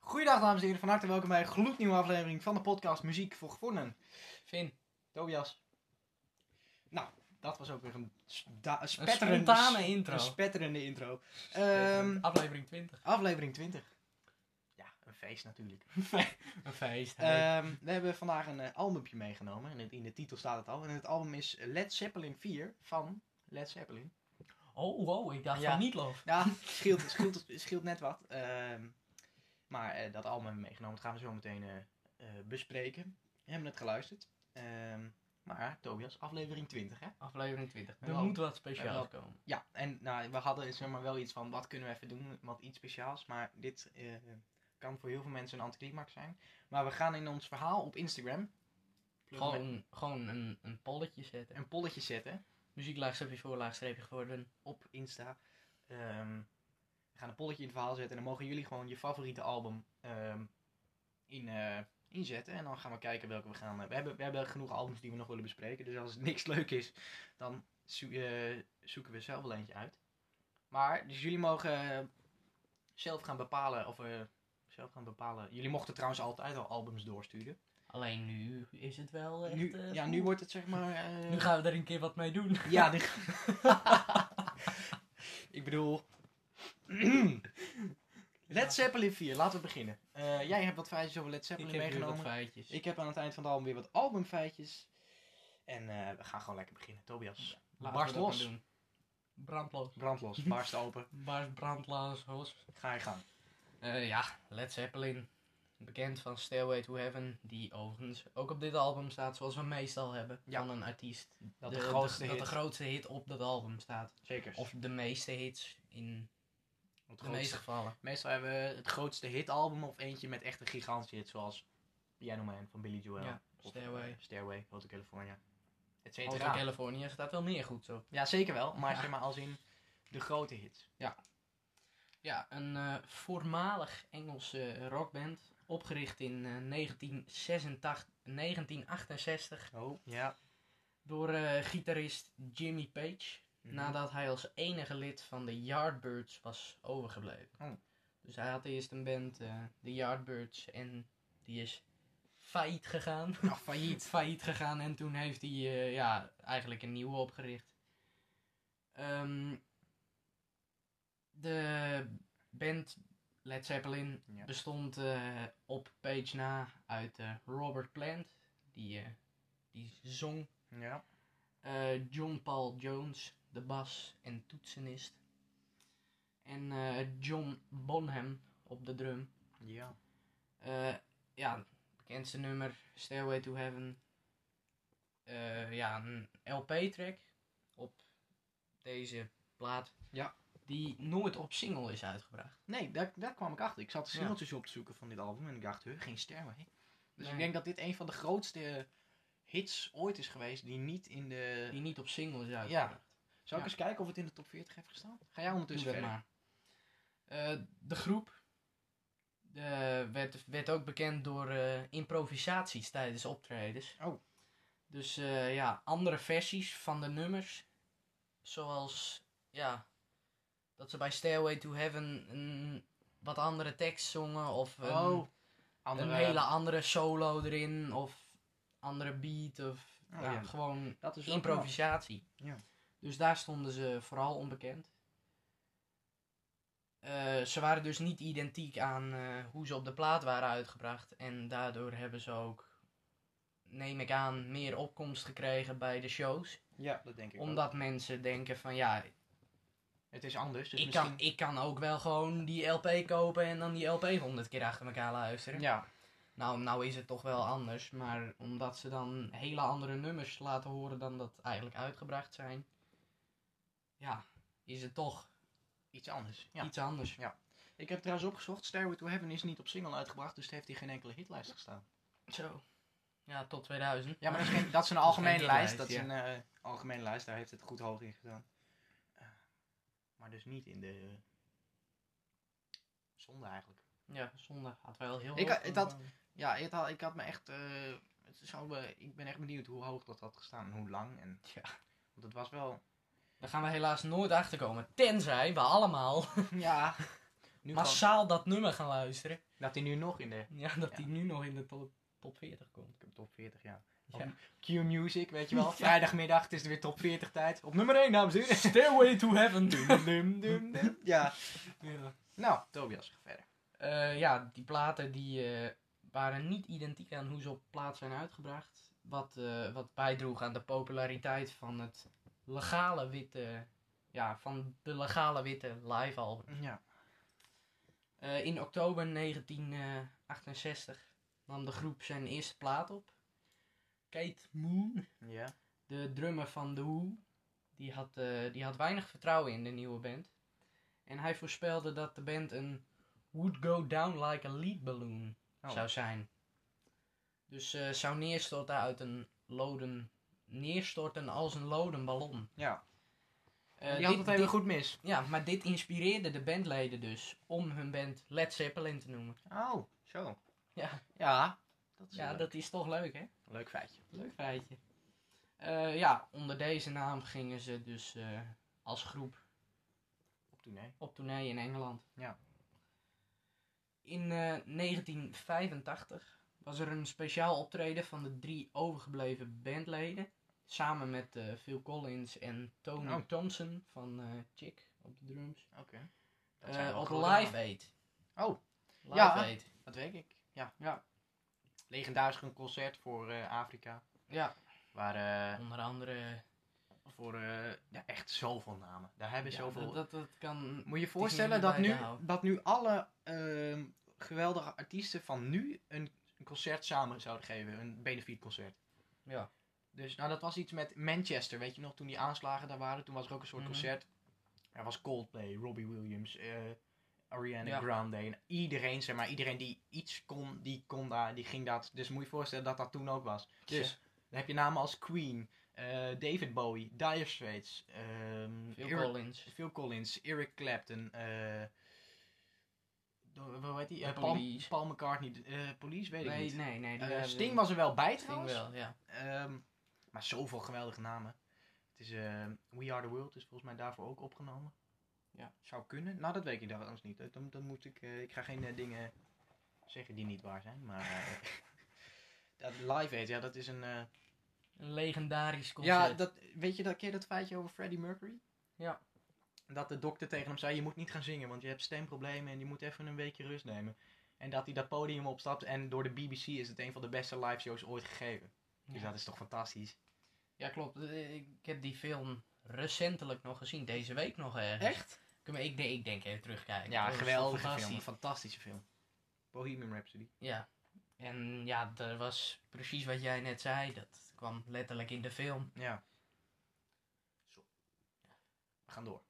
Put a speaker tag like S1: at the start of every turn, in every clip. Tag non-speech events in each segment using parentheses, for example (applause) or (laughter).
S1: Goeiedag dames en heren, van harte welkom bij een gloednieuwe aflevering van de podcast Muziek voor Gevonden.
S2: Finn.
S1: Tobias. Nou, dat was ook weer een, sda-
S2: Een
S1: spetterende,
S2: spontane intro.
S1: een spetterende intro. Ehm,
S2: Spetterend. Aflevering 20.
S1: aflevering 20. Ja, een feest natuurlijk.
S2: (laughs) Een feest. hey.
S1: Ehm, we hebben vandaag een eh, albumpje meegenomen. En het- in de titel staat het al. En het album is Led Zeppelin 4 van Led Zeppelin.
S2: oh, wow, ik dacht
S1: ja.
S2: van niet loof.
S1: Ja, scheelt, scheelt, scheelt net wat. Ehm, maar eh, dat album hebben we meegenomen. Dat gaan we zo meteen eh, eh, bespreken. We hebben het geluisterd. Ehm, maar ja, Tobias, aflevering 20, hè?
S2: Aflevering 20. Er
S1: Wel.
S2: moet wat speciaals komen.
S1: Ja, en nou, we hadden zeg maar, wel iets van, wat kunnen we even doen? Wat iets speciaals. Maar dit eh, kan voor heel veel mensen een anticlimax zijn. Maar we gaan in ons verhaal op Instagram
S2: Gewoon, gewoon een, een polletje zetten.
S1: een polletje zetten.
S2: Muziek laagstreepje voor, laagstreepje geworden.
S1: op Insta. Ehm, we gaan een polletje in het verhaal zetten. En dan mogen jullie gewoon je favoriete album ehm, in, eh, inzetten. En dan gaan we kijken welke we gaan. eh, we, hebben, we hebben genoeg albums die we nog willen bespreken. Dus als het (laughs) niks leuk is, dan zo- eh, zoeken we zelf wel eentje uit. Maar, dus jullie mogen eh, zelf gaan bepalen. Of eh, zelf gaan bepalen. Jullie mochten trouwens altijd al albums doorsturen.
S2: Alleen nu is het wel echt...
S1: Nu,
S2: eh,
S1: ja,
S2: poeh.
S1: nu wordt het zeg maar. eh,
S2: Nu gaan we er een keer wat mee doen.
S1: ja, nu... (laughs) ik bedoel... (clears throat) Led Zeppelin 4, laten we beginnen. Eh, jij hebt wat feitjes over Led
S2: Ik
S1: Zeppelin
S2: heb weer wat
S1: meegenomen.
S2: feitjes.
S1: ik heb aan het eind van de album weer wat albumfeitjes. En eh, we gaan gewoon lekker beginnen. Tobias,
S2: Laten
S1: barst
S2: we dat maar
S1: los.
S2: doen. Brandlos.
S1: (laughs) brandlos, barst open.
S2: Barst brandlos. los.
S1: Ga je gang.
S2: Eh, ja, Led Zeppelin. Bekend van Stairway to Heaven, die overigens ook op dit album staat, zoals we meestal hebben,
S1: Ja.
S2: van een artiest.
S1: Dat de, grootste
S2: dat
S1: hit.
S2: de grootste hit op dat album staat.
S1: Zeker.
S2: Of de meeste hits in
S1: het
S2: de meeste
S1: grootste.
S2: gevallen.
S1: Meestal hebben we het grootste hitalbum of eentje met echt een gigantische hit. Zoals Piano Man van Billy Joel.
S2: Ja,
S1: Of,
S2: Stairway.
S1: eh, Stairway, Oh, Hotel California. Et
S2: Over
S1: cetera.
S2: California staat wel meer goed zo.
S1: Ja, zeker wel. Maar
S2: Ja.
S1: zeg maar als in de grote hits.
S2: Ja, een eh, voormalig Engelse rockband. Opgericht in eh, 1986, 1968
S1: Oh, ja.
S2: door eh, gitarist Jimmy Page.
S1: Mhm.
S2: Nadat hij als enige lid van de Yardbirds was overgebleven.
S1: Oh.
S2: Dus hij had eerst een band, eh, de Yardbirds, en die is failliet gegaan. (laughs)
S1: Nou, failliet.
S2: failliet gegaan en toen heeft hij eh, ja, eigenlijk een nieuwe opgericht. Ehm, de band Led Zeppelin
S1: Ja.
S2: bestond eh, op page na uit eh, Robert Plant, die, eh, die zong.
S1: Ja.
S2: Eh, John Paul Jones, de bas en toetsenist. En eh, John Bonham op de drum.
S1: Ja.
S2: Eh, ja, bekendste nummer, Stairway to Heaven. Eh, ja, een LP-track op deze plaat.
S1: Ja.
S2: Die nooit op single is uitgebracht.
S1: Nee, daar, daar kwam ik achter. Ik zat de
S2: Ja.
S1: singeltjes op te zoeken van dit album en ik dacht, huh, geen Stairway. Dus ik
S2: Nee.
S1: denk dat dit een van de grootste hits ooit is geweest die niet in de...
S2: Die niet op single is uitgebracht.
S1: Zal ik
S2: ja.
S1: eens kijken of het in de top 40 heeft gestaan? Ga jij
S2: Doe
S1: ondertussen
S2: dat
S1: verder?
S2: maar. Eh, de groep eh, werd, werd ook bekend door eh, improvisaties tijdens optredens.
S1: Oh.
S2: Dus eh, ja, andere versies van de nummers. Zoals, ja, dat ze bij Stairway to Heaven een wat andere tekst zongen. Of een,
S1: Oh, andere...
S2: een hele andere solo erin. Of andere beat. Of
S1: Oh,
S2: ja,
S1: ja.
S2: gewoon
S1: dat is ook
S2: Dus improvisatie.
S1: Ja.
S2: Dus daar stonden ze vooral onbekend. Eh, ze waren dus niet identiek aan eh, hoe ze op de plaat waren uitgebracht. En daardoor hebben ze ook, neem ik aan, meer opkomst gekregen bij de shows.
S1: knap. Ja, dat denk ik ook.
S2: omdat mensen denken van ja,
S1: Het is anders, dus
S2: ik,
S1: misschien...
S2: kan, ik kan ook wel gewoon die LP kopen en dan die LP honderd keer achter elkaar luisteren.
S1: Ja,
S2: Nou, nou is het toch wel anders. Maar omdat ze dan hele andere nummers laten horen dan dat eigenlijk uitgebracht zijn. Ja, is het toch
S1: iets anders. Ja.
S2: iets anders.
S1: Ik heb trouwens opgezocht, Stairway to Heaven is niet op single uitgebracht, dus het heeft in geen enkele hitlijst gestaan.
S2: Zo. Ja, tot 2000.
S1: Ja, maar dat is, geen- dat is een algemene
S2: geen
S1: lijst.
S2: hitlijst,
S1: Dat is een eh, algemene lijst, daar heeft het goed hoog in gedaan. Eh, maar dus niet in de. eh, zonde eigenlijk.
S2: Ja, zonde. Had wel heel eh,
S1: Ik
S2: hoog
S1: had- ik
S2: kunnen
S1: had-
S2: komen.
S1: Ja, het had- ik had me echt. eh, het zou me- ik ben echt benieuwd hoe hoog dat had gestaan en hoe lang. En,
S2: Ja.
S1: Want het was wel.
S2: Daar gaan we helaas nooit (laughs) achter komen. Tenzij we allemaal
S1: (laughs) ja. Nu gewoon-
S2: massaal dat nummer gaan luisteren.
S1: Dat hij nu nog in de
S2: Ja, dat
S1: Ja.
S2: die nu nog in de top, top 40 komt.
S1: top 40, ja.
S2: Ja.
S1: Op Q-Music, weet je (laughs) wel.
S2: Ja.
S1: Vrijdagmiddag, het is weer top 40 tijd. Op nummer 1, dames en (laughs) heren.
S2: Stairway to Heaven.
S1: Dum, dum, dum, dum. Ja.
S2: ja.
S1: Nou, Tobias, ga verder.
S2: Eh, ja, die platen die eh, waren niet identiek aan hoe ze op plaat zijn uitgebracht. Wat, eh, wat bijdroeg aan de populariteit van het legale witte... Ja, van de legale witte live album.
S1: Ja.
S2: Eh, in oktober 1968 nam de groep zijn eerste plaat op. Kate Moon,
S1: Ja.
S2: de drummer van The Who, die had, eh, die had weinig vertrouwen in de nieuwe band. En hij voorspelde dat de band een Would Go Down Like a Lead Balloon
S1: Oh.
S2: zou zijn. Dus eh, zou neerstorten uit een loden... Neerstorten als een loden ballon.
S1: Ja.
S2: Eh,
S1: die had
S2: dit-
S1: het even
S2: dit-
S1: goed mis.
S2: Ja, maar dit inspireerde de bandleden dus om hun band Led Zeppelin te noemen.
S1: Oh, zo.
S2: Ja.
S1: Ja. Dat is
S2: Ja,
S1: een
S2: dat is toch leuk, hè?
S1: leuk feitje.
S2: Leuk feitje. Eh, ja, onder deze naam gingen ze dus eh, als groep
S1: Op tournee.
S2: op tournee in Engeland.
S1: Ja.
S2: In eh, 1985 was er een speciaal optreden van de drie overgebleven bandleden. Samen met eh, Phil Collins en Tony
S1: Oh.
S2: Thompson van eh, Chick op de drums.
S1: Oké. Dat zijn
S2: Eh,
S1: wel
S2: op
S1: grote
S2: Live
S1: namen.
S2: Aid.
S1: Oh.
S2: Live
S1: Ja.
S2: Aid.
S1: Dat weet ik. Ja.
S2: Ja.
S1: Legendarisch een concert voor eh, Afrika.
S2: Ja,
S1: Waar eh,
S2: onder andere...
S1: voor eh, ja, echt zoveel namen. Daar hebben
S2: ja,
S1: zoveel...
S2: dat, dat, dat kan...
S1: Moet je je
S2: gingen
S1: voorstellen
S2: er
S1: dat
S2: bij
S1: nu,
S2: te houden.
S1: dat nu alle ehm, geweldige artiesten van nu een, een concert samen zouden geven. Een benefietconcert.
S2: Ja.
S1: Dus nou, dat was iets met Manchester, weet je nog, toen die aanslagen daar waren. Toen was er ook een soort
S2: Mhm.
S1: concert. Er was Coldplay, Robbie Williams, eh, Ariana
S2: Ja.
S1: Grande. En iedereen, zeg maar, iedereen die iets kon, die kon daar, die ging dat. Dus moet je je voorstellen dat dat toen ook was. Dus dan heb je namen als Queen, eh, David Bowie, Dire Straits, ehm,
S2: Phil
S1: Eric-
S2: Collins.
S1: Phil Collins, Eric Clapton, eh hoe heet die? Eh,
S2: De
S1: Paul,
S2: Police.
S1: Paul McCartney, eh, Police, weet ik
S2: Nee,
S1: niet.
S2: nee, nee.
S1: Eh,
S2: die hebben-
S1: Sting was er wel bij
S2: Sting
S1: trouwens.
S2: wel, ja.
S1: Ehm, maar zoveel geweldige namen. Het is, eh, We Are The World is volgens mij daarvoor ook opgenomen.
S2: Ja.
S1: Zou kunnen. Nou, dat weet ik dan anders niet. Dat, dan, dan moet ik, eh, ik ga geen eh, dingen zeggen die niet waar zijn. Maar eh, (laughs) dat Live Aid, ja, dat is een... eh,
S2: Een legendarisch concert.
S1: ja, dat, weet je dat, keer dat feitje over Freddie Mercury?
S2: Ja.
S1: Dat de dokter tegen hem zei, je moet niet gaan zingen, want je hebt stemproblemen en je moet even een weekje rust nemen. En dat hij dat podium opstapt en door de BBC is het een van de beste live shows ooit gegeven. Dus
S2: ja.
S1: dat is toch fantastisch.
S2: Ja, klopt. Eh, Ik heb die film recentelijk nog gezien. Deze week nog ergens.
S1: Echt?
S2: Ik, maar ik, denk- ik denk even terugkijken.
S1: Ja,
S2: Dat was
S1: geweldige
S2: fantastisch.
S1: film. Een fantastische film. Bohemian Rhapsody.
S2: Ja. En ja, dat was precies wat jij net zei. Dat kwam letterlijk in de film.
S1: Ja. We gaan door.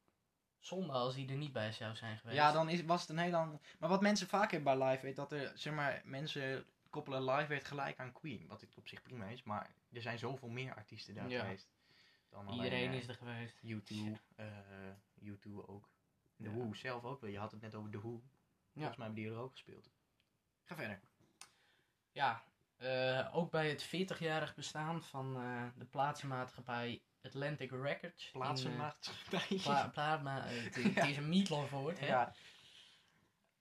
S2: Zonde als hij er niet bij zou zijn geweest.
S1: Ja, dan is, was het een heel lang... Maar wat mensen vaak hebben bij Live Aid, dat er, zeg maar, mensen koppelen Live Aid gelijk aan Queen. Wat ik op zich prima is, maar er zijn zoveel meer artiesten daar
S2: Ja.
S1: geweest. Dan alleen,
S2: Iedereen
S1: eh,
S2: is er geweest.
S1: U2, eh, U2 ook. De
S2: Ja.
S1: Who zelf ook wel. Je had het net over de Who. Volgens mij hebben die er ook gespeeld. Ga verder.
S2: Ja, eh, ook bij het 40-jarig bestaan van eh, de plaatsenmaatschappij Atlantic Records. in, eh,
S1: Mm. (laughs) Plaatsenmaatschappij. (laughs)
S2: Pla plaatma eh, het, het is een meatloaf woord. hè?
S1: ja.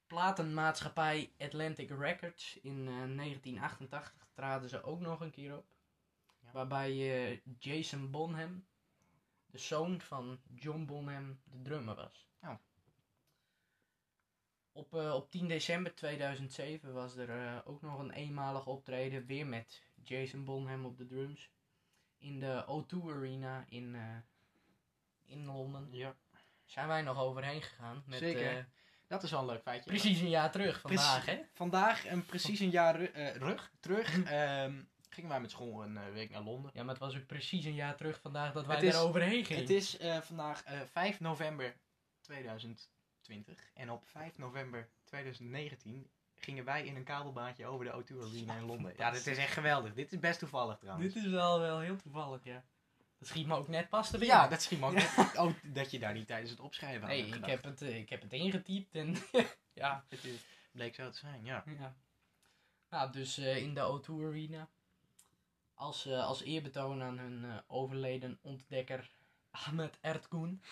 S2: Platenmaatschappij Atlantic Records in eh, 1988 traden ze ook nog een keer op.
S1: Ja.
S2: Waarbij eh, Jason Bonham, de zoon van John Bonham, de drummer was.
S1: Oh.
S2: Op, eh, op 10 december 2007 was er eh, ook nog een eenmalig optreden, weer met Jason Bonham op de drums. In de O2 Arena in, eh, in Londen.
S1: ja.
S2: Zijn wij nog overheen gegaan. Met,
S1: Zeker.
S2: eh,
S1: Dat is wel een leuk feitje.
S2: precies een jaar terug
S1: Precies.
S2: vandaag, hè?
S1: Vandaag, een precies een jaar ru- eh, rug, (laughs) terug, ehm, gingen wij met school een eh, week naar Londen.
S2: Ja, maar het was ook precies een jaar terug vandaag dat wij
S1: Het is-
S2: daar overheen gingen.
S1: Het is eh, vandaag eh, 5 november 2020. En op 5 november 2019 gingen wij in een kabelbaantje over de O2 Arena in Londen. Ja, dit is echt geweldig. Dit is best toevallig trouwens.
S2: Dit is wel, wel heel toevallig, ja. Dat schiet me ook net pas te binnen.
S1: Ja, dat schiet me ook niet- Oh, dat je daar niet tijdens het opschrijven aan
S2: Nee,
S1: hebt
S2: ik
S1: gedacht.
S2: heb, het, eh, ik heb het ingetypt en... (laughs) ja.
S1: Het is- bleek zo te zijn, ja.
S2: ja. Nou, dus eh, in de O2 Arena. Als, eh, als eerbetoon aan hun eh, overleden ontdekker Ahmed Ertgun.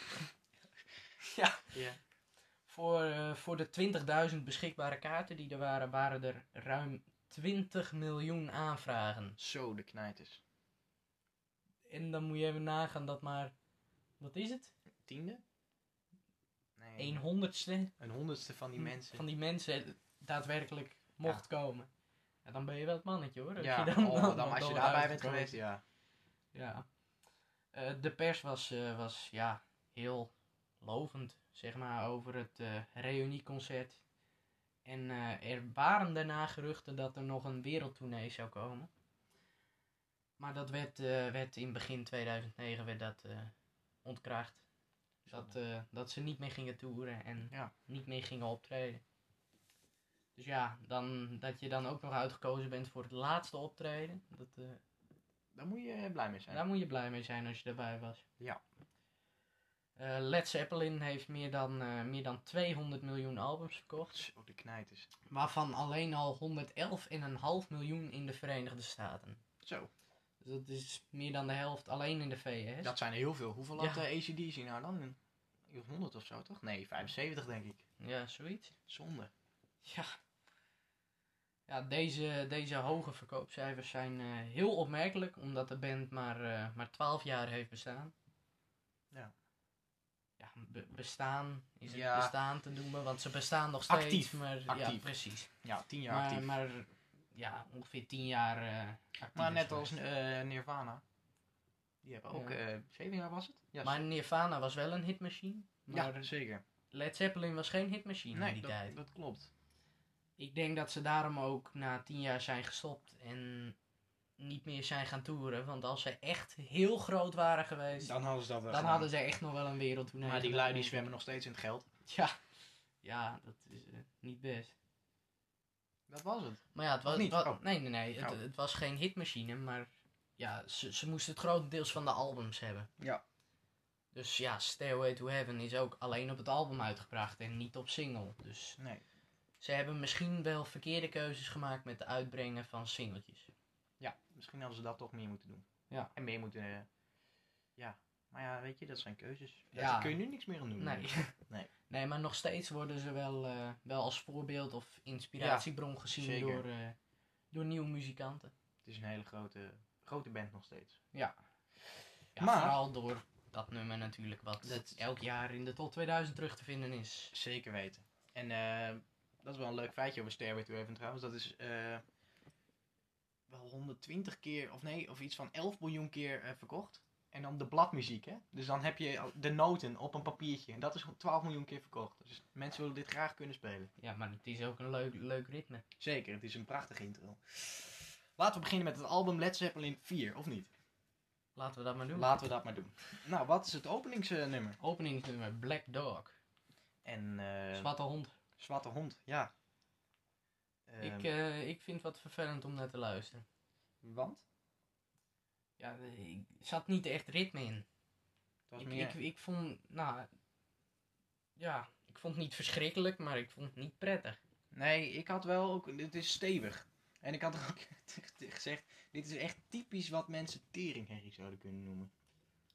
S1: Ja.
S2: Voor, eh, voor de 20.000 beschikbare kaarten die er waren, waren er ruim 20 miljoen aanvragen.
S1: Zo, de knijters.
S2: En dan moet je even nagaan dat maar, wat is het?
S1: Tiende? Nee.
S2: Een honderdste
S1: Een honderdste van die mensen.
S2: van die mensen daadwerkelijk mocht komen. Ja, dan ben je wel het mannetje hoor. Als
S1: ja,
S2: je dan,
S1: oh,
S2: dan-
S1: dan, als je
S2: dan
S1: daarbij bent
S2: uitgekozen.
S1: geweest, ja.
S2: Ja. Eh, de pers was, eh, was ja, heel lovend, zeg maar, over het eh reunieconcert. En eh, er waren daarna geruchten dat er nog een wereldtournee zou komen. Maar dat werd, eh, werd in begin 2009 werd dat, eh, ontkracht. Dat, eh, dat ze niet meer gingen toeren en
S1: Ja.
S2: niet meer gingen optreden. Dus ja, dan, dat je dan ook nog uitgekozen bent voor het laatste optreden. Dat, eh,
S1: Daar moet je eh, blij mee zijn.
S2: daar moet je blij mee zijn als je erbij was.
S1: Ja.
S2: Eh, Led Zeppelin heeft meer dan, eh, meer dan 200 miljoen albums verkocht.
S1: Zo, de knijters.
S2: Waarvan alleen al 111,5 miljoen in de Verenigde Staten.
S1: Zo,
S2: Dus dat is meer dan de helft alleen in de VS.
S1: dat zijn er heel veel. Hoeveel had
S2: Ja.
S1: eh, ACDC nou dan? Een- 100 of zo, toch? Nee, 75 denk ik.
S2: Ja, zoiets.
S1: Zonde.
S2: Ja. Ja, deze, deze hoge verkoopcijfers zijn eh, heel opmerkelijk, omdat de band maar, eh, maar 12 jaar heeft bestaan.
S1: Ja.
S2: Ja, be- bestaan is het
S1: Ja.
S2: bestaan te noemen, want ze bestaan nog steeds.
S1: Actief,
S2: Maar, Ja,
S1: actief.
S2: precies.
S1: Ja, 10 jaar
S2: maar,
S1: actief. Maar,
S2: maar ja, ongeveer 10 jaar eh, actief. is
S1: net als
S2: geweest.
S1: eh, Nirvana. Die hebben ook
S2: Ja.
S1: eh 7 jaar was het? Ja,
S2: Maar Nirvana was wel een hitmachine, maar
S1: ja zeker.
S2: Led Zeppelin was geen hitmachine in
S1: Nee,
S2: die
S1: dat,
S2: tijd.
S1: dat klopt.
S2: Ik denk dat ze daarom ook na tien jaar zijn gestopt en niet meer zijn gaan toeren. Want als ze echt heel groot waren geweest, Dus dan,
S1: hadden ze dat wel
S2: hadden ze echt nog wel een wereldtoernooi.
S1: Maar die
S2: gedaan,
S1: lui die
S2: denk ik.
S1: zwemmen nog steeds in het geld.
S2: Ja, ja dat is eh, niet best.
S1: Dat was het.
S2: Maar ja, het was,
S1: Of niet?
S2: wa-
S1: Oh.
S2: nee, nee, nee, het,
S1: Oh.
S2: het was geen hitmachine, maar ja, ze, ze moesten het grotendeels van de albums hebben.
S1: Ja.
S2: Dus ja, Stairway to Heaven is ook alleen op het album uitgebracht en niet op single. Dus
S1: Nee.
S2: ze hebben misschien wel verkeerde keuzes gemaakt met het uitbrengen van singeltjes.
S1: Ja, misschien hadden ze dat toch meer moeten doen.
S2: Ja.
S1: En meer moeten... eh, ja. Maar ja, weet je, dat zijn keuzes.
S2: Ja.
S1: Ja. Daar kun je nu niks meer aan doen.
S2: Nee.
S1: Mm. Nee.
S2: (laughs) Nee, maar nog steeds worden ze wel, eh, wel als voorbeeld of inspiratiebron gezien
S1: zeker.
S2: door, eh, door nieuwe muzikanten.
S1: Het is een hele grote, grote band nog steeds.
S2: Ja,
S1: Maar-
S2: Vooral door dat nummer natuurlijk, wat
S1: Dat-
S2: elk jaar in de top 2000 terug te vinden is.
S1: Zeker weten. En eh, dat is wel een leuk feitje over Stairway to Heaven trouwens. Dat is eh, wel 120 keer, of nee, of iets van 11 miljoen keer eh, verkocht. En dan de bladmuziek, hè. Dus dan heb je de noten op een papiertje. En dat is 12 miljoen keer verkocht. Dus mensen willen dit graag kunnen spelen.
S2: Ja, maar het is ook een leuk, leuk ritme.
S1: Zeker, het is een prachtige intro. Laten we beginnen met het album Led Zeppelin 4, of niet?
S2: Laten we dat maar doen.
S1: Laten we dat maar doen. Nou, wat is het openingsnummer?
S2: Openingsnummer Black Dog.
S1: En eh,
S2: Zwarte hond.
S1: Zwarte Hond, ja. Ehm,
S2: ik, eh, ik vind het wat vervelend om naar te luisteren.
S1: Want?
S2: Ja, eh, ik zat niet echt ritme in.
S1: Het was
S2: Ik,
S1: meer...
S2: ik, ik vond, nou, ja, ik vond het niet verschrikkelijk, maar ik vond het niet prettig.
S1: Nee, ik had wel ook. Dit is stevig. En ik had ook (laughs) tegen- tegen gezegd: dit is echt typisch wat mensen teringherrie zouden kunnen noemen.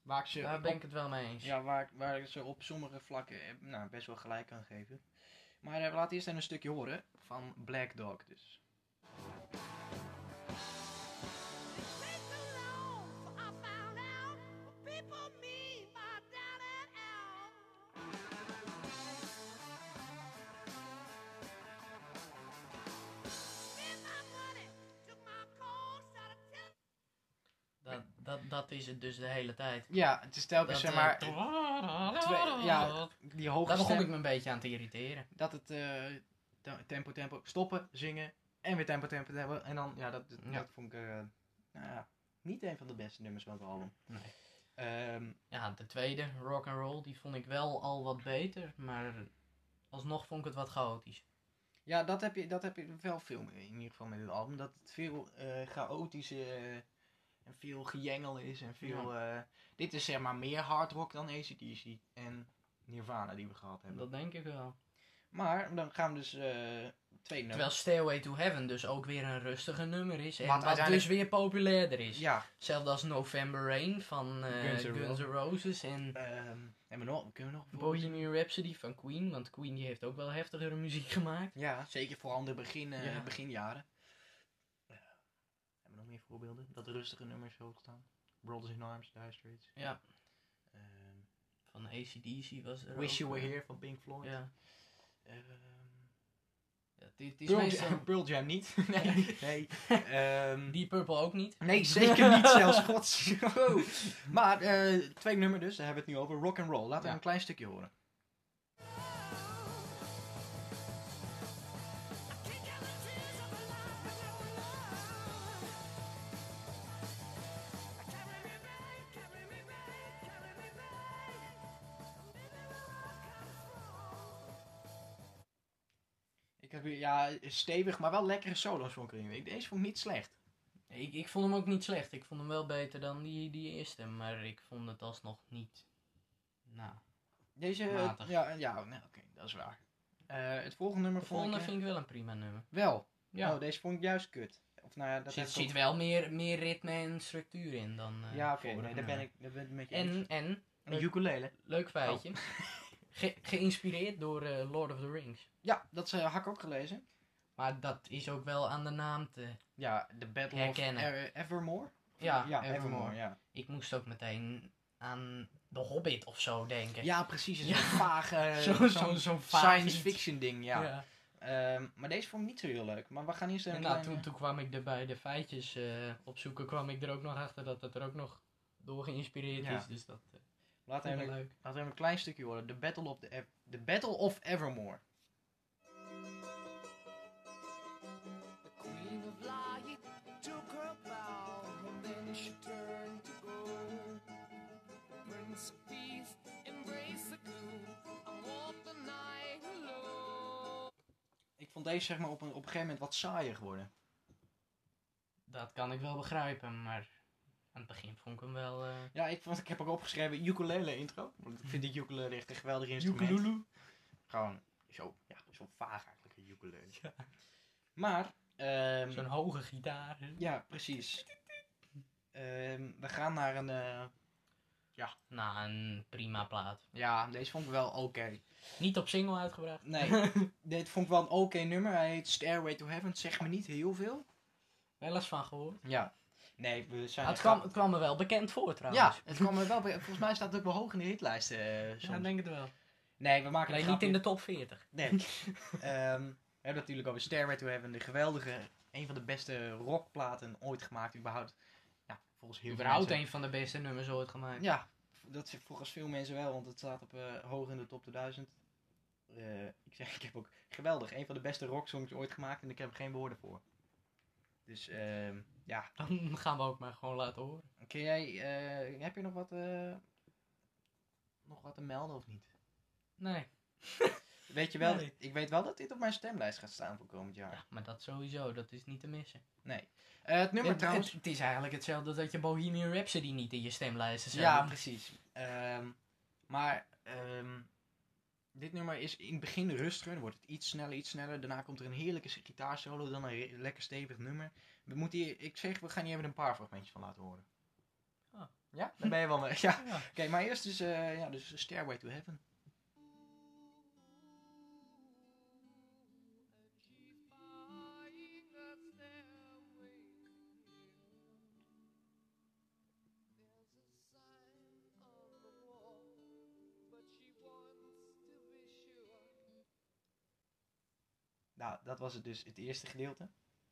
S1: Waar ik ze,
S2: Daar ben
S1: op-
S2: ik het wel mee eens.
S1: ja, waar, ik- waar ik ze op sommige vlakken eh, nou, best wel gelijk kan geven. Maar eh, we laten eerst even een stukje horen van Black Dog. Dus.
S2: Dat, dat, dat is het dus de hele tijd.
S1: Ja, het is telkens
S2: Dat,
S1: zeg maar.
S2: eh,
S1: twee- ja, die hoge
S2: daar begon
S1: stem,
S2: ik me een beetje aan te irriteren.
S1: Dat het eh, te- tempo, tempo, stoppen, zingen. En weer tempo, tempo, tempo. En dan, ja, dat, dat,
S2: Ja.
S1: dat vond ik eh, nou ja, niet een van de beste nummers van het album.
S2: Nee.
S1: Ehm,
S2: Ja, de tweede, rock and roll, die vond ik wel al wat beter, maar alsnog vond ik het wat chaotisch.
S1: Ja, dat heb, je, dat heb je wel veel meer, in ieder geval met dit album. Dat het veel eh chaotische eh, en veel gejengel is. En veel, eh, dit is zeg maar meer hard rock dan ACDC en Nirvana die we gehad hebben.
S2: Dat denk ik wel.
S1: Maar dan gaan we dus eh, Tweede nummer.
S2: Terwijl Stairway to Heaven dus ook weer een rustiger nummer is. En
S1: Wat
S2: wat,
S1: uiteindelijk-
S2: dus weer populairder is.
S1: Ja.
S2: Hetzelfde als November Rain van eh,
S1: Guns
S2: Guns,
S1: N'
S2: N' Roses en
S1: ehm hebben we nog? Kunnen we nog? bijvoorbeeld-
S2: Bohemian Rhapsody van Queen. Want Queen die heeft ook wel heftigere muziek gemaakt.
S1: Ja, zeker vooral in de begin, eh,
S2: Ja.
S1: beginjaren. Eh, hebben we nog meer voorbeelden? Dat rustige nummers zo staan. Brothers in Arms, Dire Straits.
S2: Ja.
S1: Ehm,
S2: Van ACDC was er
S1: Wish
S2: ook,
S1: You Were
S2: eh,
S1: Here van Pink Floyd.
S2: Ja.
S1: Ehm,
S2: Ja, het- het is
S1: Pearl,
S2: meestal-
S1: Jam, (laughs) Pearl Jam niet. nee. nee. Ehm,
S2: Deep Purple ook
S1: (laughs)
S2: niet.
S1: nee, zeker niet zelfs. Gods. Oh. Maar eh twee nummer dus, daar hebben we het nu over. Rock and roll. Laten we
S2: Ja.
S1: een klein stukje horen. Ik heb hier, ja, stevig, maar wel lekkere solo's van Green Deze vond ik niet slecht.
S2: Ik, ik vond hem ook niet slecht. Ik vond hem wel beter dan die, die eerste. Maar ik vond het alsnog niet. Nou,
S1: Deze. eh,
S2: Matig.
S1: Ja, ja nou, oké, dat is waar. Eh, het volgende nummer
S2: de volgende
S1: vond ik. eh,
S2: vind ik wel een prima nummer.
S1: Wel.
S2: Ja.
S1: Oh, deze vond ik juist kut. Of nou ja,
S2: Er
S1: dat
S2: zit,
S1: heb ik ook-
S2: zit wel meer, meer ritme en structuur in dan. eh,
S1: Ja, oké,
S2: vorige
S1: nee, daar ben
S2: nummer.
S1: ik, daar ben ik Oh. met je eens. Eh,
S2: En, en
S1: Een ukulele.
S2: leuk feitje. (laughs) Ge- geïnspireerd door eh, Lord of the Rings.
S1: Ja, dat is, eh, had ik ook gelezen.
S2: Maar dat is ook wel aan de naam te.
S1: Ja, The Battle
S2: Herkennen.
S1: of Er- Evermore.
S2: Ja,
S1: Evermore. ja.
S2: Ik moest ook meteen aan The Hobbit of zo denken.
S1: ja, precies. Zo'n
S2: Ja.
S1: vaag, eh,
S2: Zo-
S1: zo'n
S2: (laughs) zo'n- zo'n vaag
S1: science
S2: iets.
S1: fiction ding, ja.
S2: ja.
S1: Ehm, maar deze vond ik niet zo heel leuk. Maar we gaan eerst
S2: En
S1: even...
S2: nou, toen, toen kwam ik er bij de feitjes eh, opzoeken, kwam ik er ook nog achter dat het er ook nog door geïnspireerd
S1: Ja.
S2: is. Dus dat eh,
S1: laten,
S2: vond
S1: we
S2: ik wel
S1: even,
S2: leuk.
S1: laten we even een klein stukje horen. The Battle of, the Ev- the Battle of Evermore.
S3: Queen of Light took her bow, and then she turned to gold. The Prince of Peace embraced the gloom, and walked the night alone.
S1: Ik vond deze zeg maar op een, op een gegeven moment wat saaier geworden.
S2: Dat kan ik wel begrijpen, maar aan het begin vond ik hem wel... eh
S1: Ja, ik, vond, ik heb ook opgeschreven ukulele intro. Want ik vind die ukulele echt een geweldig instrument.
S2: Joekeloeloe.
S1: Gewoon zo, ja, zo vaag eigenlijk een ukulele. Maar, ehm,
S2: Zo'n hoge gitaar.
S1: ja, precies. Ehm, we gaan naar een, eh,
S2: Nou, een prima plaat.
S1: ja, deze vond ik wel oké.
S2: Niet op single uitgebracht.
S1: (laughs) Nee, dit vond ik wel een oké nummer. Hij heet Stairway to Heaven, zeg me niet heel veel.
S2: Wel eens van gehoord.
S1: Ja. Nee, we zijn...
S2: het, kwam, het kwam me wel bekend voor
S1: ja,
S2: trouwens.
S1: het kwam me wel... Volgens mij staat het ook wel hoog in de hitlijst eh, soms.
S2: Ja, ik denk het wel.
S1: Nee, we maken een
S2: Alleen niet
S1: grapje.
S2: in de top 40. (laughs)
S1: Nee. Ehm, we hebben natuurlijk over Stairway to Heaven, de geweldige, een van de beste rockplaten ooit gemaakt, überhaupt. Ja, volgens heel
S2: Überhaupt
S1: veel
S2: een van de beste nummers ooit gemaakt.
S1: mensen. Ja, dat is volgens veel mensen wel, want het staat op, eh, hoog in de top 2000. Eh, ik zeg, ik heb ook geweldig, een van de beste rocksongs ooit gemaakt en ik heb er geen woorden voor. Dus ehm, ja,
S2: (laughs) Dan gaan we ook maar gewoon laten horen.
S1: kun jij, eh, heb je nog wat, eh, nog wat te melden of niet?
S2: Nee,
S1: Weet je wel,
S2: Nee.
S1: ik weet wel dat dit op mijn stemlijst gaat staan voor komend jaar.
S2: ja, maar dat sowieso. Dat is niet te missen.
S1: Eh, het nummer
S2: Ja,
S1: trouwens.
S2: Het, het is eigenlijk hetzelfde als dat je Bohemian Rhapsody niet in je stemlijsten zet.
S1: Ja,
S2: Want
S1: precies. Ehm, maar ehm, dit nummer is in het begin rustiger. Dan wordt het iets sneller, iets sneller. Daarna komt er een heerlijke s- gitaarsolo. Dan een re- lekker stevig nummer. We moeten hier, ik zeg, we gaan hier even een paar fragmentjes van laten horen.
S2: Ah.
S1: Ja, daar ben je wel mee. (laughs) Ja. Oké,
S2: (laughs) Ja.
S1: maar eerst is eh, ja, dus Stairway to Heaven. Nou, dat was het dus, het eerste gedeelte.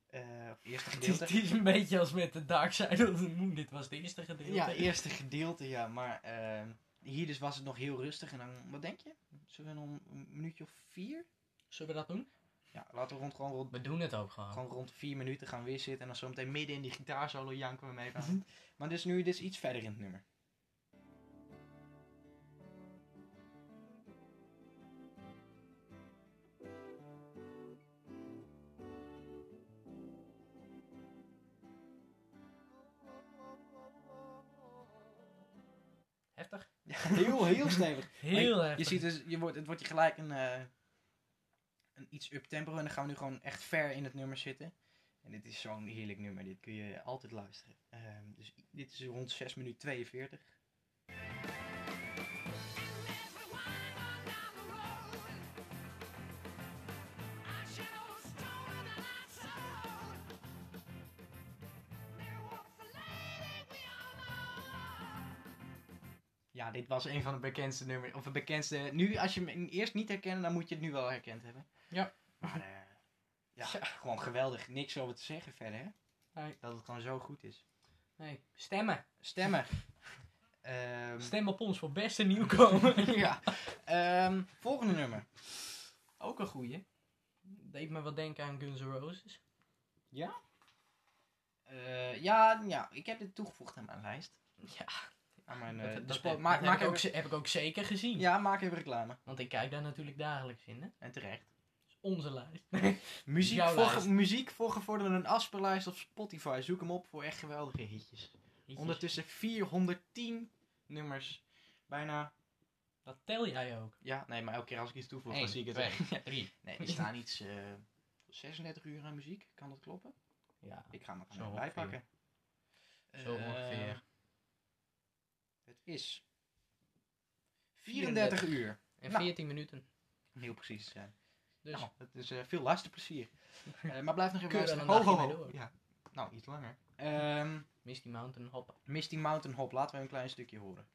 S1: Eh, of eerste
S2: (laughs) Het is,
S1: gedeelte.
S2: het is een beetje als met de Dark Side of the Moon. Dit was het eerste gedeelte.
S1: Ja, eerste gedeelte, ja. Maar ehm, hier dus was het nog heel rustig. En dan, wat denk je? Zullen we nog een minuutje of vier?
S2: Zullen we dat doen?
S1: Ja, laten we rond, gewoon rond,
S2: We doen het ook gewoon.
S1: gewoon rond vier minuten gaan weer zitten. En dan zometeen midden in die gitaarsolo janken we mee aan. maar dus nu, dit is iets verder in het (laughs) nummer.
S2: Heftig.
S1: Ja, heel, heel stevig. Maar
S2: Heel
S1: je- je,
S2: heftig.
S1: ziet dus, je wordt, het wordt je gelijk een, eh, een iets uptempo. En dan gaan we nu gewoon echt ver in het nummer zitten. En dit is zo'n heerlijk nummer. Dit kun je altijd luisteren. Ehm, dus i- dit is rond 6 minuten 42. Ja, dit was een van de bekendste nummers. Of de bekendste. Nu, als je hem eerst niet herkende, dan moet je het nu wel herkend hebben.
S2: Ja.
S1: Maar eh, ja,
S2: Ja.
S1: gewoon geweldig. Niks over te zeggen verder, hè?
S2: Nee.
S1: Dat het gewoon zo goed is.
S2: Nee, stemmen. (laughs)
S1: Stemmen. Ehm,
S2: Stem op ons voor beste nieuwkomer.
S1: (laughs) ja. Ehm, volgende nummer.
S2: Ook een goeie. Deed me wat denken aan Guns N' Roses.
S1: Eh, ja, ja, ik heb dit toegevoegd aan mijn lijst.
S2: Ja,
S1: Aan mijn,
S2: dat-
S1: eh,
S2: dat,
S1: de spo-
S2: heb,
S1: maak,
S2: dat
S1: maak
S2: heb, ik ook,
S1: even-
S2: ze- heb ik ook zeker gezien.
S1: ja, maak even reclame.
S2: Want ik kijk daar natuurlijk dagelijks in. Hè?
S1: En terecht.
S2: Dat is onze lijst.
S1: Muziek
S2: Jouw
S1: voor,
S2: lijst.
S1: muziek voor gevorderden een afspeellijst op Spotify. Zoek hem op voor echt geweldige hitjes. Ondertussen 410 nummers. Bijna.
S2: Dat tel jij ook.
S1: Ja, nee, maar elke keer als ik iets toevoeg, dan
S2: Eén,
S1: zie ik het.
S2: (laughs) twee,
S1: Ja. (laughs)
S2: Drie.
S1: Nee, er staan iets eh 36 uur aan muziek. Kan dat kloppen?
S2: Ja.
S1: Ik ga hem er
S2: Zo
S1: gewoon
S2: ongeveer.
S1: bijpakken.
S2: Zo
S1: Eh,
S2: ongeveer.
S1: het is 34 uur.
S2: En
S1: Nou.
S2: 14 minuten.
S1: Om heel precies te zijn.
S2: Dus
S1: Nou, het is eh, veel
S2: (laughs)
S1: luisterplezier. Eh maar blijf nog even
S2: Kun je
S1: luisteren.
S2: wel een
S1: Ho, ho,
S2: dagje mee
S1: ho.
S2: door?
S1: Ja. Nou, iets langer. Ehm,
S2: Misty Mountain hoppen.
S1: Misty Mountain Hop. Laten we een klein stukje horen.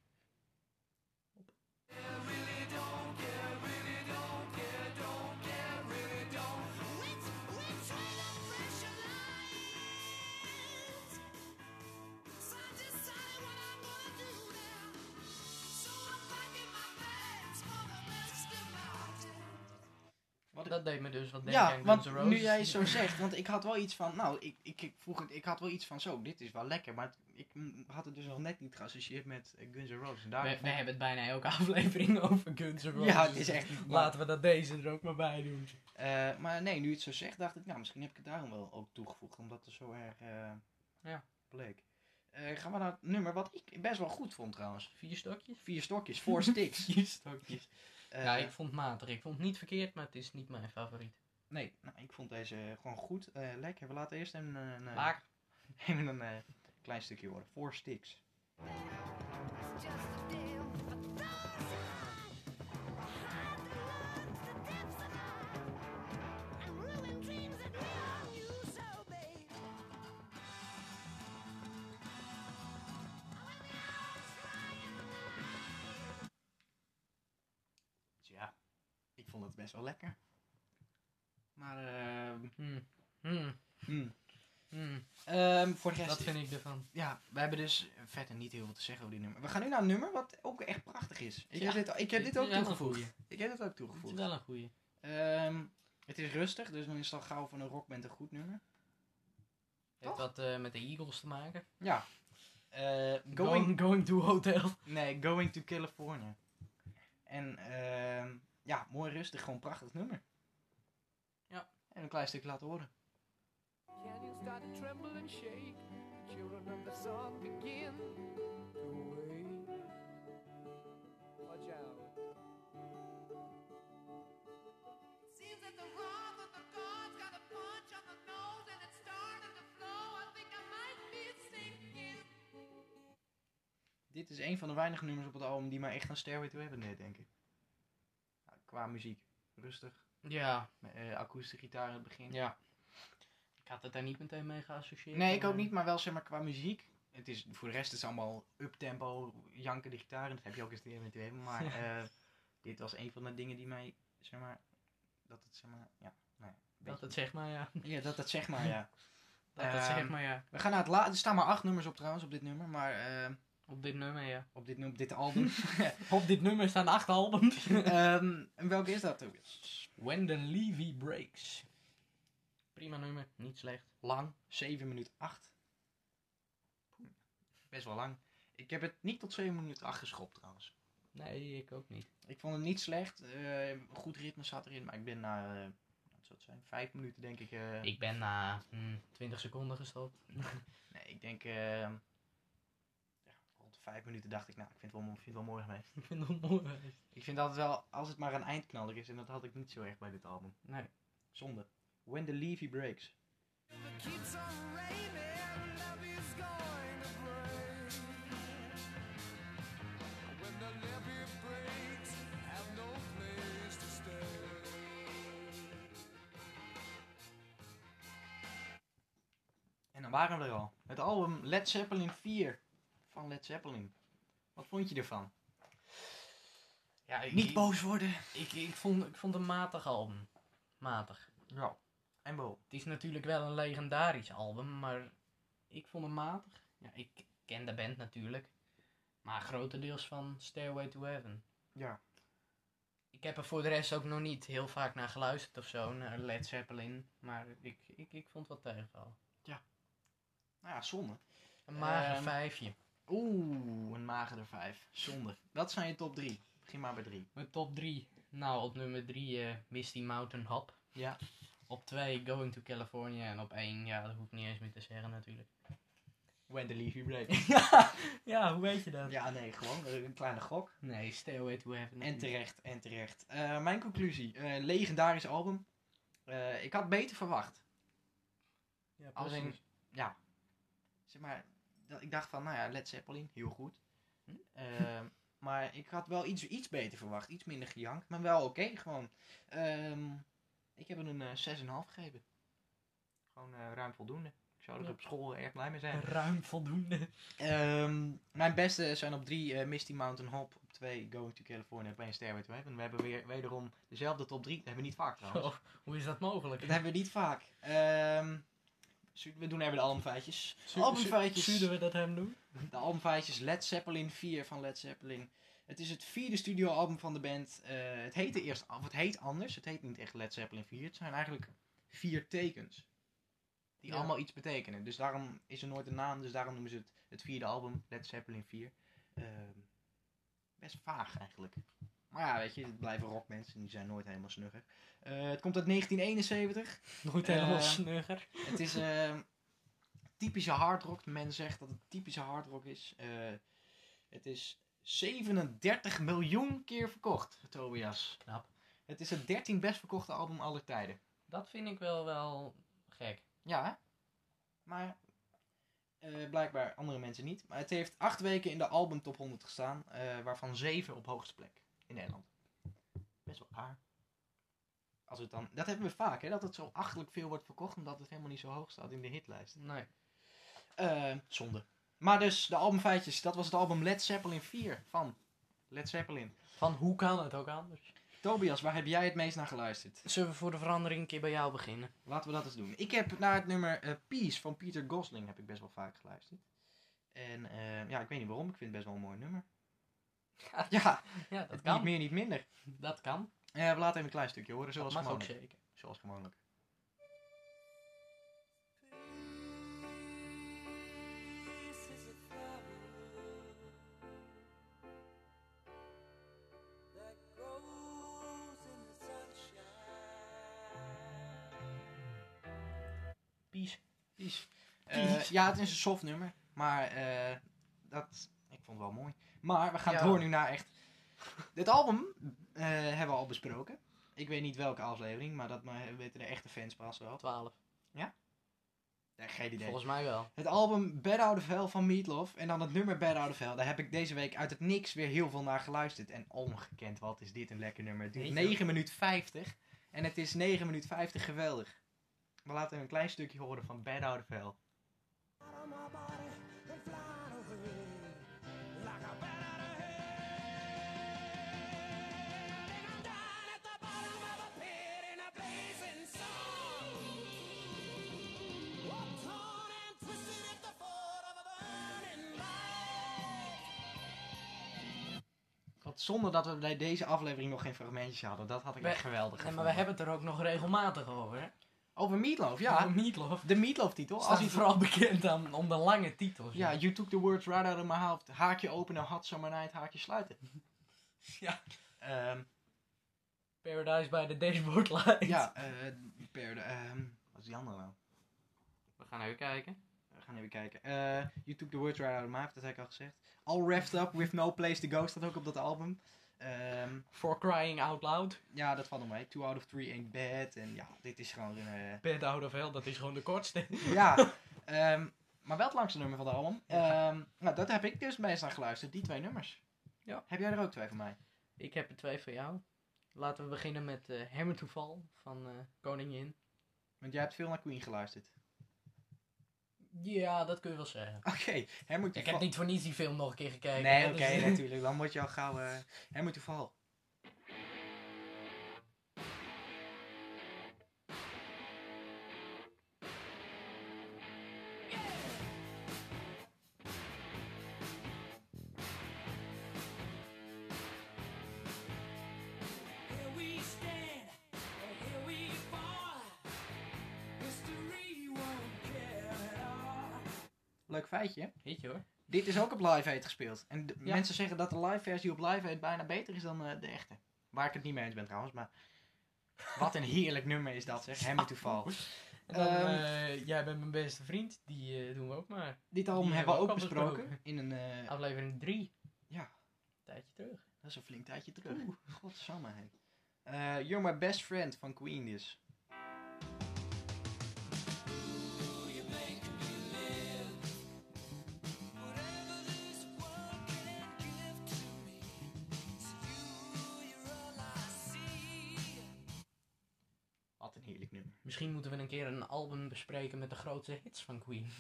S1: Wat
S2: Dat deed me dus wat denken
S1: ja,
S2: aan
S1: want
S2: Guns N' Roses.
S1: nu jij het zo zegt, want ik had wel iets van, nou, ik, ik, ik vroeg het, ik had wel iets van, zo, dit is wel lekker, maar het- ik mm, had het dus nog net niet geassocieerd met eh, Guns N' Roses. En
S2: We,
S1: daarom
S2: we
S1: vond ik-
S2: hebben het bijna elke (laughs) aflevering over Guns N' Roses.
S1: Ja, het is echt niet
S2: Laten we dat deze er ook maar bij doen.
S1: Eh, maar nee, nu je het zo zegt, dacht ik, nou, misschien heb ik het daarom wel ook toegevoegd, omdat het zo erg eh,
S2: Ja.
S1: bleek. Eh, gaan we naar het nummer wat ik best wel goed vond trouwens.
S2: Vier stokjes?
S1: Vier stokjes, four
S2: (laughs)
S1: sticks.
S2: Vier stokjes.
S1: Eh,
S2: ja, ik vond het matig. Ik vond het niet verkeerd, maar het is niet mijn favoriet.
S1: Nee, nou, ik vond deze gewoon goed, eh, lekker. We laten eerst even een, eh,
S2: Laak.
S1: even een eh, (laughs) klein stukje horen. Four sticks. Dus ja, ik vond het best wel lekker. Maar, ehm,
S2: Hmm. Hmm.
S1: hmm.
S2: Hmm.
S1: Ehm, voor de rest,
S2: Dat vind ik ervan.
S1: ja, we hebben dus verder niet heel veel te zeggen over dit nummer. We gaan nu naar een nummer wat ook echt prachtig is. Ik
S2: Ja,
S1: heb dit, ik heb dit
S2: is
S1: ook
S2: wel een
S1: toegevoegd.
S2: goeie.
S1: Ik heb dit ook
S2: Het is
S1: toegevoegd.
S2: wel een goeie.
S1: Ehm, het is rustig, dus dan is het al gauw van een rockband een goed nummer. Toch?
S2: Heeft dat eh, met de Eagles te maken?
S1: Ja. Eh, going,
S2: Going, going to Hotel.
S1: nee, Going to California. En ehm, ja, mooi rustig, gewoon een prachtig nummer.
S2: Ja.
S1: En een klein stuk laten horen.
S3: Canyons start to tremble and shake. The children of the sun begin to wake. Watch out.
S4: Seems that the wrath of the gods got a punch on the nose and it's starting to flow. I think I might be sinking.
S1: Dit is een van de weinige nummers op het album die mij echt aan Stairway to Heaven deed denken. Nou, qua muziek. Rustig.
S2: Ja,
S1: Met, eh, akoestische gitaar in het begin.
S2: ja. Ik had het daar niet meteen mee geassocieerd.
S1: Nee, ik
S2: maar-
S1: ook niet, maar wel zeg maar qua muziek. Het is, voor de rest is het allemaal uptempo, janken de gitaar. En dat heb je ook eens eerder met hebben. (laughs) Maar eh, dit was een van de dingen die mij, zeg maar, dat het zeg maar, ja. Nou ja, een
S2: Dat
S1: beetje-
S2: het zeg maar ja.
S1: ja, dat het zeg maar, ja.
S2: Dat het zeg
S1: Ehm,
S2: maar
S1: (laughs)
S2: ja.
S1: We gaan naar het laatste. Er staan maar acht nummers op trouwens, op dit nummer. Maar eh,
S2: Op dit nummer ja.
S1: op, dit, nu- op dit (laughs) album.
S2: Op dit nummer staan acht albums. (laughs)
S1: Ehm, en welke is dat ook?
S2: When the Levy Breaks. Prima nummer, niet slecht.
S1: lang. 7 minuten 8. Best wel lang. Ik heb het niet tot 7 minuten 8 geschopt trouwens.
S2: Nee, ik ook niet.
S1: Ik vond het niet slecht. eh, goed ritme zat erin, maar ik ben na eh, wat zou het zijn, 5 minuten denk ik. eh,
S2: Ik ben na hm, 20 seconden gestopt. (laughs)
S1: Nee, ik denk eh, ja, rond 5 minuten dacht ik, nou, ik vind het wel, mo- ik vind het wel mooi geweest.
S2: ik vind het mooi.
S1: Ik vind altijd wel, als het maar een eindknaller is, en dat had ik niet zo erg bij dit album.
S2: Nee.
S1: Zonde. When the Levy Breaks.
S3: It keeps on raining, love is going to break. When the levee breaks, have no place to stay.
S1: En dan waren we er al. Het album Led Zeppelin 4 van Led Zeppelin. Wat vond je ervan?
S2: Ja, ik,
S1: Niet boos worden.
S2: Ik, ik, vond, ik vond het een matig album. Matig.
S1: Ja. En wel.
S2: Het is natuurlijk wel een legendarisch album, maar ik vond hem matig. Ja, ik ken de band natuurlijk, maar grotendeels van Stairway to Heaven.
S1: Ja.
S2: Ik heb er voor de rest ook nog niet heel vaak naar geluisterd of zo, naar Led Zeppelin, maar ik, ik, ik vond wat tegenval.
S1: Nou ja, zonde.
S2: Een mager
S1: Ehm,
S2: vijfje.
S1: Oeh, een magerder 5. Zonde. Dat zijn je top 3. Begin maar bij 3.
S2: Mijn top 3. Nou, op nummer 3 Misty Mountain Hop.
S1: Ja.
S2: Op 2 Going to California en op 1, ja, dat hoef ik niet eens meer te zeggen natuurlijk.
S1: When the Levy Breaks.
S2: ja, ja, hoe weet je
S1: (laughs)
S2: dat?
S1: ja, nee, gewoon eh, een kleine gok.
S2: Nee, Stairway to Heaven.
S1: En terecht, en terecht. Eh, mijn conclusie. eh, legendarisch album. Eh, ik had beter verwacht.
S2: Ja,
S1: Als in-
S2: precies.
S1: Ja. Zeg maar, dat, ik dacht van, nou ja, Led Zeppelin, heel goed. Ehm, (laughs) maar ik had wel iets, iets beter verwacht. Iets minder gejankt, maar wel oké. gewoon. Ehm, ik heb er een eh, 6,5 gegeven. Gewoon eh, ruim voldoende. Ik zou er
S2: Ja.
S1: op school erg blij mee zijn.
S2: Ruim voldoende.
S1: Ehm, mijn beste zijn op 3 Misty Mountain Hop. Op 2 Going to California. Op 1 Stairway to Heaven. We hebben weer wederom dezelfde top 3. Dat hebben we niet vaak trouwens.
S2: Zo, hoe is dat mogelijk?
S1: Dat hebben we niet vaak. Ehm, zu- we doen even de albumfeitjes.
S2: Zu-
S1: albumfeitjes.
S2: zu- Zullen we dat hem doen?
S1: De albumfeitjes Led Zeppelin 4 van Led Zeppelin. Het is het vierde studioalbum van de band. Eh, het heette eerst, of het heet anders. Het heet niet echt Led Zeppelin 4. Het zijn eigenlijk vier tekens. Die
S2: Ja.
S1: allemaal iets betekenen. Dus daarom is er nooit een naam. Dus daarom noemen ze het het vierde album Led Zeppelin 4. Ehm, best vaag eigenlijk. Maar ja, weet je, het blijven rockmensen. Die zijn nooit helemaal snugger. Eh, het komt uit 1971.
S2: Nooit
S1: Eh,
S2: helemaal snugger.
S1: Het is eh, typische hardrock. Men zegt dat het typische hardrock is. Eh, het is 37 miljoen keer verkocht, Tobias.
S2: Knap.
S1: Het is het 13 best verkochte album aller tijden.
S2: Dat vind ik wel wel gek.
S1: Ja, hè? maar eh, blijkbaar andere mensen niet. Maar het heeft acht weken in de album top 100 gestaan, eh, waarvan zeven op hoogste plek in Nederland. Best wel aar. Als het dan, dat hebben we vaak, hè? dat het zo achterlijk veel wordt verkocht, omdat het helemaal niet zo hoog staat in de hitlijst.
S2: Nee.
S1: Eh, zonde. Maar dus, de albumfeitjes. Dat was het album Led Zeppelin 4 van Led Zeppelin.
S2: Van hoe kan het ook anders?
S1: Tobias, waar heb jij het meest naar geluisterd?
S2: Zullen we voor de verandering een keer bij jou beginnen?
S1: Laten we dat eens doen. Ik heb naar het nummer eh, Peace van Peter Gosling heb ik best wel vaak geluisterd. En eh, ja, ik weet niet waarom. Ik vind het best wel een mooi nummer.
S2: Ja.
S1: Ja,
S2: Ja, dat
S1: niet
S2: kan.
S1: meer, niet minder.
S2: Dat kan.
S1: Eh, we laten even een klein stukje horen,
S2: Dat
S1: zoals
S2: mag ook
S1: gewoonlijk.
S2: zeker.
S1: Zoals gewoonlijk.
S4: Peace is a flower that grows in the sunshine.
S2: Peace.
S1: Peace.
S2: Peace.
S1: Eh, ja, het is een soft nummer. Maar eh, dat... Ik vond het wel mooi. Maar we gaan
S2: Ja.
S1: door nu naar echt... Dit album eh, hebben we al besproken. Ik weet niet welke aflevering, maar dat maar weten de echte fans pas wel.
S2: 12.
S1: Nee, geen idee.
S2: Volgens mij wel.
S1: Het album Bad Out of Hell van Meatloaf en dan het nummer Bad Out of Hell. Daar heb ik deze week uit het niks weer heel veel naar geluisterd. En ongekend, wat is dit een lekker nummer. Het duurt
S2: Weet je
S1: 9 minuten 50 en het is 9 minuten 50 geweldig. We laten een klein stukje horen van Bad Out of Hell.
S3: out of my body and fly away like a bat out of hell. And I'm down at the bottom of a pit in a blazing sun. Oh, torn and twisted at the foot of a burning light.
S1: Wat zonde dat we bij deze aflevering nog geen fragmentjes hadden. Dat had ik
S2: We-
S1: echt geweldig
S2: Nee, maar we
S1: gevonden.
S2: hebben het er ook nog regelmatig over. Hè?
S1: Over Meatloaf,
S2: Over
S1: ja.
S2: Meatloaf.
S1: De Meatloaf titel.
S2: Als
S1: Als
S2: hij
S1: je
S2: vooral bekend aan om de lange titels.
S1: Ja, you took the words right out of my mouth. Haakje openen, had summer night, haakje sluiten.
S2: (laughs) Ja.
S1: Ehm,
S2: (laughs) Paradise by the Dashboard Light.
S1: ja, eh per de, ehm, wat is die andere nou?
S2: We gaan even kijken.
S1: We gaan even kijken. Eh, you took the words right out of my mouth, dat heb ik al gezegd. All wrapped up with no place to go staat ook op dat album. Eh, Ehm,
S2: For crying out loud.
S1: ja, dat valt nog mee. Two out of three ain't bad. En ja, dit is gewoon... eh,
S2: Bad out of hell, dat is gewoon de kortste.
S1: ja, ehm, maar wel het langste nummer van de album.
S2: Ja.
S1: Ehm, nou, dat heb ik dus meestal geluisterd. Die twee nummers.
S2: Ja.
S1: Heb jij er ook twee van mij?
S2: Ik heb er twee voor jou. Laten we beginnen met eh Hammer to Fall van eh, Koningin.
S1: Want jij hebt veel naar Queen geluisterd.
S2: Ja, dat kun je wel zeggen.
S1: Oké, hij moet
S2: Ik heb niet voor niets die film nog een keer gekeken.
S1: Nee,
S2: hè,
S1: oké,
S2: dus- (laughs)
S1: natuurlijk. Dan word je al gauw... eh hij moet toeval.
S3: Here we stand, and here we fall. History won't care at all.
S1: Leuk feitje.
S2: Weet je hoor.
S1: Dit is ook op Live Aid gespeeld. En de-
S2: Ja.
S1: mensen zeggen dat de live versie op Live Aid bijna beter is dan eh, de echte. Waar ik het niet mee eens ben trouwens, maar... Wat een heerlijk nummer is dat, zeg. Hammer toeval.
S2: En dan,
S1: Ehm,
S2: eh, jij bent mijn beste vriend. Die eh, doen we ook maar.
S1: Dit album
S2: Die
S1: hebben we ook
S2: hebben we ook al
S1: besproken. In een... eh,
S2: Aflevering 3.
S1: Ja.
S2: Tijdje terug.
S1: dat is een flink tijdje terug. (laughs) Godsamme, hé. Eh, You're My Best Friend van Queen dus. Wat een heerlijk nummer.
S2: Misschien moeten we een keer een album bespreken met de grootste hits van
S1: (laughs)
S2: Queen.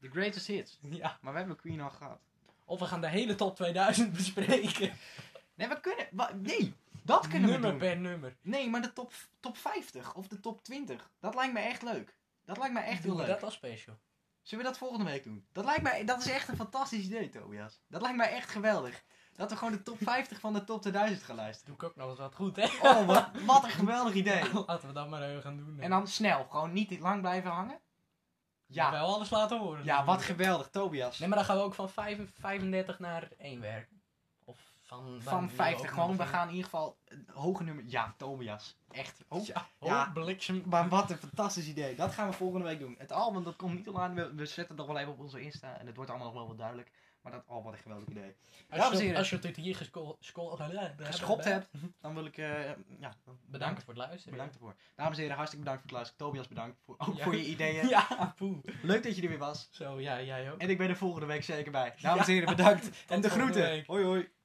S1: The Greatest Hits.
S2: Ja.
S1: Maar we hebben Queen al gehad.
S2: Of we gaan de hele top 2000 bespreken.
S1: Nee, we kunnen... wa- nee, dat kunnen
S2: nummer
S1: we doen.
S2: per nummer.
S1: Nee, maar de top, top 50 of de top 20. Dat lijkt me echt leuk. Dat lijkt me echt
S2: Doen
S1: heel
S2: we
S1: leuk.
S2: dat als special.
S1: Zullen we dat volgende week doen? Dat, lijkt mij, dat is echt een fantastisch idee, Tobias. Dat lijkt mij echt geweldig. Dat we gewoon de top 50 van de top 2000 gaan
S2: (laughs)
S1: luisteren.
S2: Doe ik ook nog eens wat goed, hè?
S1: Oh, wat, wat een geweldig idee.
S2: (laughs) Laten we dat maar even gaan doen.
S1: En dan snel, gewoon niet lang blijven hangen.
S2: ja.
S1: Ja,
S2: wel alles laten horen.
S1: ja wat
S2: natuurlijk.
S1: geweldig, Tobias.
S2: Nee, maar dan gaan we ook van vijf- 35 naar 1 werken. Of van...
S1: Van 50 gewoon, we
S2: begaan.
S1: gaan in ieder geval een hoge nummer. Ja, Tobias. Echt. Oh.
S2: Ja,
S1: Ja.
S2: oh, bliksem.
S1: Maar wat een fantastisch idee. Dat gaan we volgende week doen. Het album, dat komt niet online. We, we zetten het nog wel even op onze Insta. En het wordt allemaal nog wel wat duidelijk. Maar dat, oh, wat een geweldig idee. Dames en
S2: Als je,
S1: heren.
S2: als je tot hier gesco- sco- (laughs)
S1: geschopt hebt, dan wil ik eh, ja,
S2: Bedankt voor het luisteren.
S1: bedankt ervoor. Dames en heren, hartstikke bedankt voor het luisteren. Tobias, bedankt voor, ook
S2: Ja.
S1: voor je ideeën.
S2: Ja, poeh.
S1: Leuk dat je er weer was.
S2: Zo, ja, jij ook. (laughs)
S1: En ik ben er volgende week zeker bij. Dames en heren, bedankt. En de
S2: volgende
S1: groeten.
S2: week.
S1: Hoi hoi.